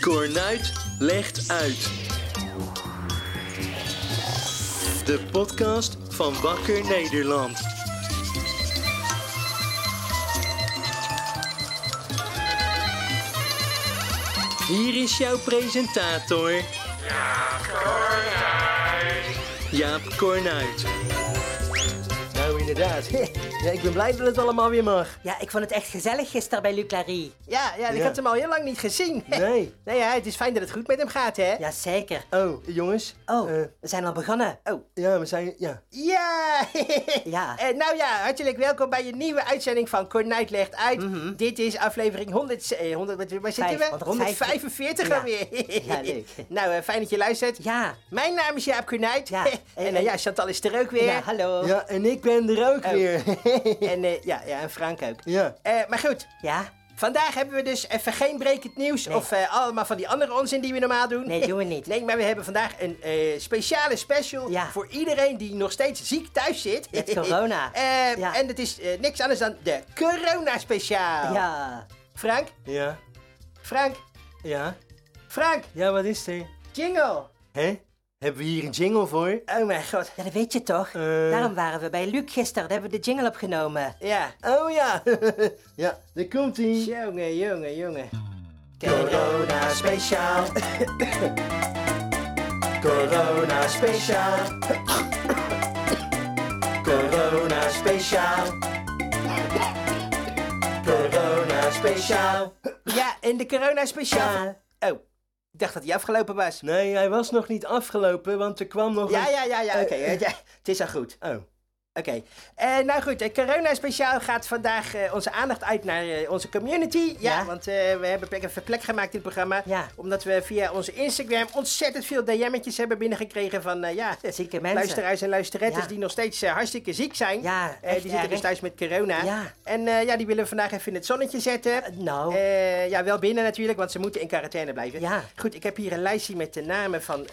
Cornuit legt uit. De podcast van Wakker Nederland. Hier is jouw presentator. Jaap Cornuit. Jaap Cornuit. Nou, inderdaad. Ja, ik ben blij dat het allemaal weer mag. Ja, ik vond het echt gezellig gisteren bij Luc Larry. Ja, ja, ik Ja. had hem al heel lang niet gezien. Nee. Nee, ja, het is fijn dat het goed met hem gaat, hè? Jazeker. Oh, jongens. Oh, Eh, we zijn al begonnen. Oh. ja, we zijn... Ja. Ja! Ja. Eh, nou ja, hartelijk welkom bij een nieuwe uitzending van Cornuit Legt Uit. Dit is aflevering 100, eh, 100 wat- waar zitten Mhm. Vijf, we? 145. 145 Ja. alweer. Ja, leuk. Nou, eh, fijn dat je luistert. Ja. Mijn naam is Jaap Cornuit. Ja. En eh, ja, Chantal is er ook weer. Ja, hallo. Ja, en ik ben er ook weer. En, eh, ja, ja, en Frank ook. ja. Eh, maar goed, Ja? Vandaag hebben we dus even geen brekend nieuws Nee. of eh, allemaal van die andere onzin die we normaal doen. Nee, doen we niet. Nee, maar we hebben vandaag een eh, speciale special Ja. voor iedereen die nog steeds ziek thuis zit. Met corona. Eh, Ja. En het is eh, niks anders dan de corona speciaal. Ja. Frank, Ja. Frank, Ja. Frank, Ja, wat is er? jingle. Hè? Hebben we hier een jingle voor? Oh mijn god. Ja, dat weet je toch? Eh. Daarom waren we bij Luc gisteren. Daar hebben we de jingle opgenomen. Ja. Oh ja. ja, daar komt ie. Jongen, jongen, jongen. Corona speciaal. Corona speciaal. Corona speciaal. Corona speciaal. Ja, en de corona speciaal. Oh, ik dacht dat die afgelopen was. Nee, hij was nog niet afgelopen, want er kwam nog Ja, een... ja, ja, ja, oké. eh, ja, het is al goed. Oh. Oké, Eh, nou goed, eh, corona speciaal gaat vandaag eh, onze aandacht uit naar eh, onze community. Ja, Ja. want eh, we hebben plek, even plek gemaakt in het programma. Ja. Omdat we via onze Instagram ontzettend veel DM'tjes hebben binnengekregen van eh, ja, Zieke mensen. luisteraars en luisterettes Ja. die nog steeds eh, hartstikke ziek zijn. Ja, Eh, echt die zitten erg, dus hè? thuis met corona. Ja. En eh, ja, die willen we vandaag even in het zonnetje zetten. Eh, nou. Eh, ja, wel binnen natuurlijk, want ze moeten in quarantaine blijven. Ja. Goed, ik heb hier een lijstje met de namen van eh,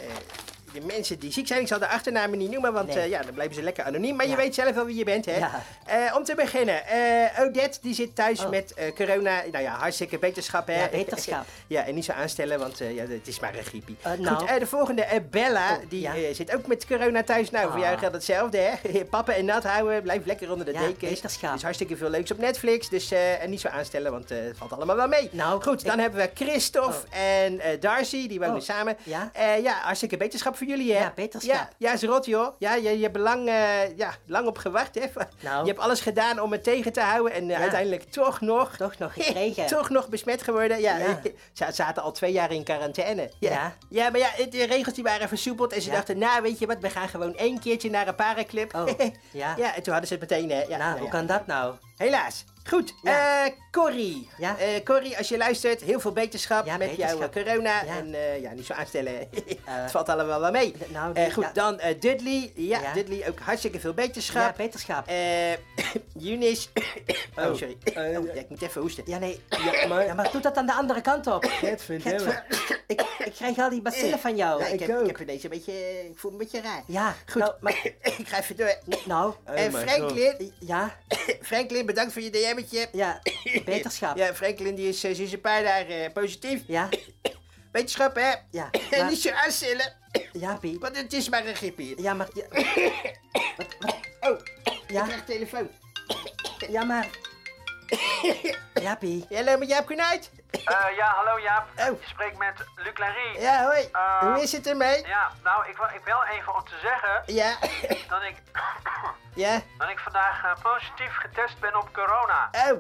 de mensen die ziek zijn. Ik zal de achternamen niet noemen, want Nee. eh, ja, dan blijven ze lekker anoniem. Maar je Ja. weet zelf wel wie je bent, hè? Ja. Eh, om te beginnen, eh, Odette die zit thuis Oh. met eh, corona. Nou ja, hartstikke beterschap, hè? Ja, beterschap. ja, en niet zo aanstellen, want eh, ja, het is maar een griepie. Eh, nou. Oh, Goed, eh, de volgende, eh, Bella, die ja. eh, zit ook met corona thuis. Nou, voor Ah. jou geldt hetzelfde, hè? Pappen en nat houden, blijf lekker onder de Ja, dekens. beterschap. Er is hartstikke veel leuks op Netflix, dus eh, en niet zo aanstellen, want eh, het valt allemaal wel mee. Nou, Goed, dan ik- hebben we Christophe en eh, Darcy, die wonen Oh, samen. ja. Eh, ja, hartstikke beterschap voor jullie, hè? Ja, beterschap. Ja, ja, is rot, joh. Ja, je, je hebt lang, eh, ja, lang op gewacht, hè? Nou. Je hebt alles gedaan om het tegen te houden en eh, Ja. uiteindelijk toch nog... Toch nog gekregen. toch nog besmet geworden. Ja, Ja. ze zaten al twee jaar in quarantaine. Ja. Ja, maar ja, het- de regels die waren versoepeld en ze Ja. dachten, nou, weet je wat, we gaan gewoon één keertje naar een parenclip. Oh, ja. ja, en toen hadden ze het meteen, hè. Ja, nou, ja. hoe kan dat nou? Helaas. Goed, Ja. Eh Corrie. Ja. Eh, Corrie, als je luistert, heel veel beterschap Ja, met beterschap. jouw corona. Ja. En eh, ja, niet zo aanstellen. Het valt allemaal wel mee. d- nou, Eh, die- goed, ja. dan eh, Dudley. Ja, Ja. Dudley ook hartstikke veel Ja, beterschap. beterschap. Eh Eunice. oh, Oh, sorry. eh, Oh, ja, ik moet even hoesten. Ja, nee. Ja, maar... Ja, maar doe dat aan de andere kant op. Gadverdamme. Ik, ik krijg al die bacillen van jou. Eh. Ja, ik ik, heb, ook. ik heb ineens een beetje... eh, Ik voel me een beetje raar. Ja, Goed, Eh, nou, maar- ik ga even door. Nou, Oh en my Franklin, ja, Franklin, bedankt voor je DM'tje. ja, beterschap. Ja, Franklin die is eh, sinds een paar dagen eh, positief. Ja, Wetenschap, hè? Ja, En maar- niet zo aanstellen, ja, Pie. want het is maar een griepje. Ja, maar... Ja, Oh, Ja? ik krijg telefoon. ja maar... Ja, Pie. Hallo, met Jaap Kunuit. Eh, ja, hallo Jaap. Oh. Je spreekt met Luc Larry. Ja. Ja, hoi. Ah. Hoe is het ermee? nou, ik wil, ik wil even om te zeggen Ja, dat ik, ja. dat ik vandaag eh, positief getest ben op corona. Oh,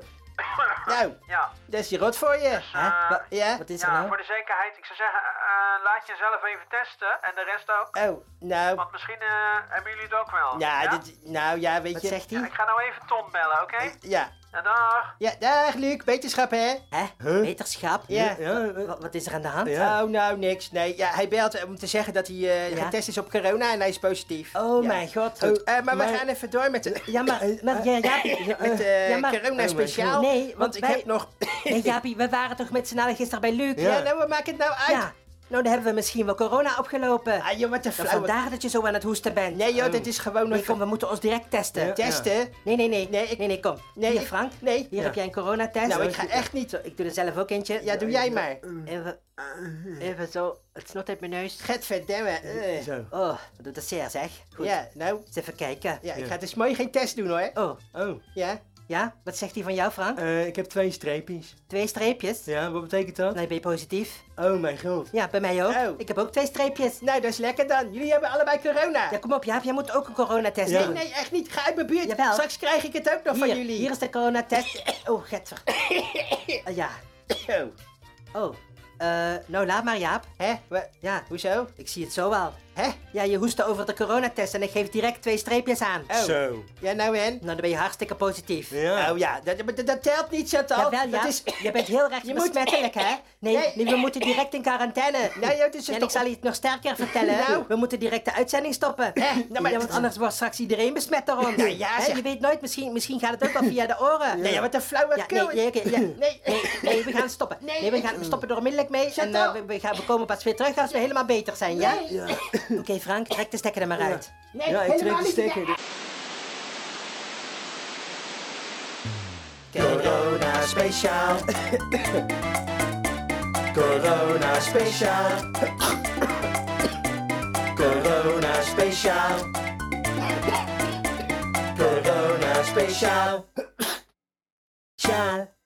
nou, Ja, dat is die rot voor je. Hè? Wa- Ja. Wat is er ja nou? voor de zekerheid, ik zou zeggen, eh, eh, laat jezelf even testen en de rest ook. Oh, nou, Want misschien eh, hebben jullie het ook wel. ja, dit, Eh. nou ja, weet Wat je. zegt Ja, hij? ik ga nou even Tom bellen, oké? Ja. Ja, dag. Ja, dag Luc, wetenschap hè? Hè? Huh? Beterschap? Ja. Ja, eh, Wa- Wat is er aan de hand? Ja. Oh, nou, niks. Nee, ja, hij belt om te zeggen dat hij eh, Ja. getest is op corona en hij is positief. Oh Ja. mijn god. Goed, eh, maar, maar- we gaan even door met de... Ja, maar, maar ja, Jaapie, ja, Met eh ja, maar- Oh corona speciaal. Nee, want want ik wij- heb nog... Nee, Jaapie, we waren toch met z'n allen gisteren bij Luc? Ja. Ja, nou, wat maakt het nou uit? Ja. Nou, daar hebben we misschien wel corona opgelopen. Ah, joh, wat een Nou, flauwe... vandaar dat je zo aan het hoesten bent. Nee, joh, dit is gewoon nog... Nee, kom, we moeten ons direct testen. Oh. Ja. Testen? Nee, nee, nee. Nee, ik- nee, nee, kom. Nee, Hier, ik- Frank. nee. Hier Ja. heb jij een coronatest. Nou, ik ga echt niet... Ik doe er zelf ook eentje. Ja, doe jij maar. Eh, we- Even zo, het snot uit mijn neus. Gadverdamme. eh. Zo. Oh, dat doet dat zeer zeg. Goed, Ja, nou. eens even kijken. Ja, ik Ja. ga dus mooi geen test doen hoor. Oh, Oh, Ja? ja? Wat zegt hij van jou, Frank? eh, ik heb twee streepjes. Twee streepjes? Ja, wat betekent dat? Nee, ben je positief? Oh mijn god. Ja, bij mij ook. Oh. Ik heb ook twee streepjes. Nou, dat is lekker dan. Jullie hebben allebei corona. Dus Ja, kom op, Jaap, jij moet ook een coronatest Ja. doen. Nee, echt niet. Ga uit mijn buurt. Jawel. Straks krijg ik het ook nog Hier, van jullie. hier is de coronatest. Oh, getver. Eh, ja. Oh. Oh. Eh, nou, laat maar, Jaap. Hè? Wa- Ja, Hoezo? ik zie het zo wel. Hè? Ja, je hoestte over de coronatest en ik geef direct twee streepjes aan. Oh. Zo. Ja, nou en? Nou, dan ben je hartstikke positief. Ja. Oh ja, dat, dat, dat telt niet, Chantal. Jawel, Dat ja. is... Oh, Je bent heel recht Je moet- besmettelijk, hè? Nee, Nee. nee, we moeten direct in quarantaine. Nou, ja, het is en toch- ik zal je het nog sterker vertellen. Nou. We moeten direct de uitzending stoppen. nou, maar- ja, want anders wordt straks iedereen besmet door ons. Nou, ja, Hè, zeg. Je weet nooit, misschien, misschien gaat het ook al via de oren. Nee, ja, wat een Ja, flauwekul. nee, ja, oké, ja. Nee. nee. Nee, we gaan stoppen. Nee. Nee, we, gaan, we stoppen er onmiddellijk mee. En Chantal. eh, we, we gaan, we komen pas weer terug als we helemaal beter zijn, ja? Nee. Ja. Oké, Frank, trek de stekker er maar uit. Nee, ja, ik trek helemaal de niet. stekker. Corona speciaal. Corona speciaal. Corona speciaal. Corona speciaal. Ciao.